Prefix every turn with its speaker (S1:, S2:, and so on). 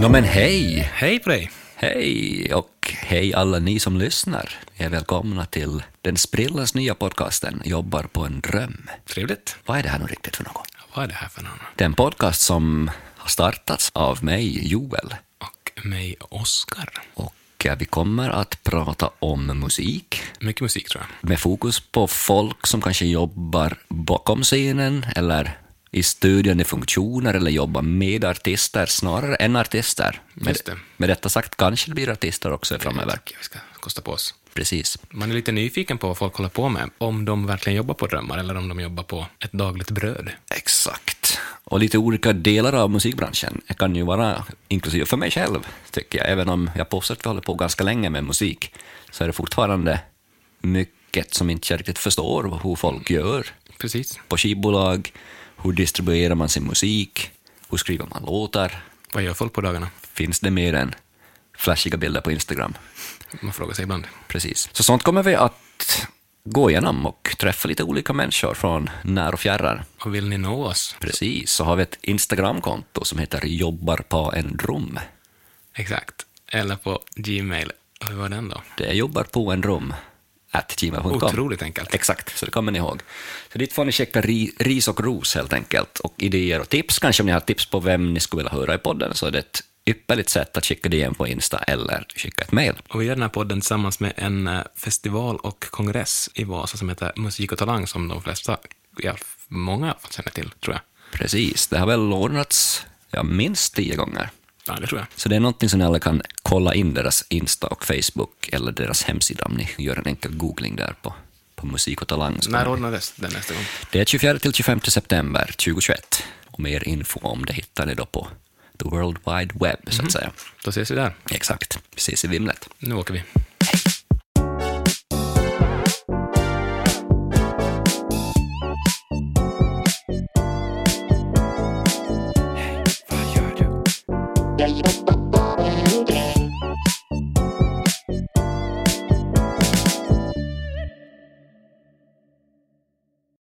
S1: Ja men hej!
S2: Hej på dig!
S1: Hej och hej alla ni som lyssnar. Vi är välkomna till den sprillans nya podcasten Jobbar på en dröm.
S2: Trevligt.
S1: Vad är det här nu riktigt för något?
S2: Vad är det här för någon?
S1: Det är en podcast som har startats av mig, Joel.
S2: Och mig, Oscar.
S1: Och eh, vi kommer att prata om musik
S2: Mycket musik tror jag.
S1: med fokus på folk som kanske jobbar bakom scenen eller i stödjande funktioner eller jobbar med artister snarare än artister. Med,
S2: Just det.
S1: med detta sagt kanske det blir artister också framöver.
S2: Jag tycker vi ska kosta på oss.
S1: Precis.
S2: Man är lite nyfiken på vad folk håller på med. Om de verkligen jobbar på drömmar eller om de jobbar på ett dagligt bröd.
S1: Exakt. Och lite olika delar av musikbranschen. Det kan ju vara, inklusive för mig själv, tycker jag, även om jag påstår att vi håller på ganska länge med musik, så är det fortfarande mycket som inte jag riktigt förstår hur folk gör.
S2: Precis.
S1: På skivbolag, hur distribuerar man sin musik, hur skriver man låtar,
S2: Vad gör folk på dagarna?
S1: finns det mer än flashiga bilder på Instagram?
S2: Man frågar sig ibland.
S1: Precis. Så sånt kommer vi att gå igenom och träffa lite olika människor från när och fjärran.
S2: Och vill ni nå oss?
S1: Precis, så har vi ett Instagramkonto som heter jobbar på en rum.
S2: Exakt. Eller på Gmail. Och Hur var den då?
S1: Det är jobbar på en rum at gmail.com.
S2: Otroligt enkelt.
S1: Exakt, så det kommer ni ihåg. Så dit får ni checka ri, ris och ros helt enkelt och idéer och tips. Kanske om ni har tips på vem ni skulle vilja höra i podden så är det ett ypperligt sätt att skicka det igen på Insta eller skicka ett mejl.
S2: Och vi gör den här podden tillsammans med en eh, festival och kongress i Vasa som heter Musik och Talang som de flesta, ja, många känner till tror jag.
S1: Precis, det har väl ordnats ja, minst tio gånger.
S2: Ja, det tror jag.
S1: Så det är någonting som ni alla kan kolla in deras Insta och Facebook eller deras hemsida om ni gör en enkel googling där på, på musik och talang. så
S2: När
S1: kommer ni-
S2: ordnades den nästa gång?
S1: Det är 24 till 25 september 2021. Och mer info om det hittar ni då på the world wide web, så att säga.
S2: Då ses vi där.
S1: Exakt. Vi ses i vimlet.
S2: Nu åker vi.
S3: Jag jobbar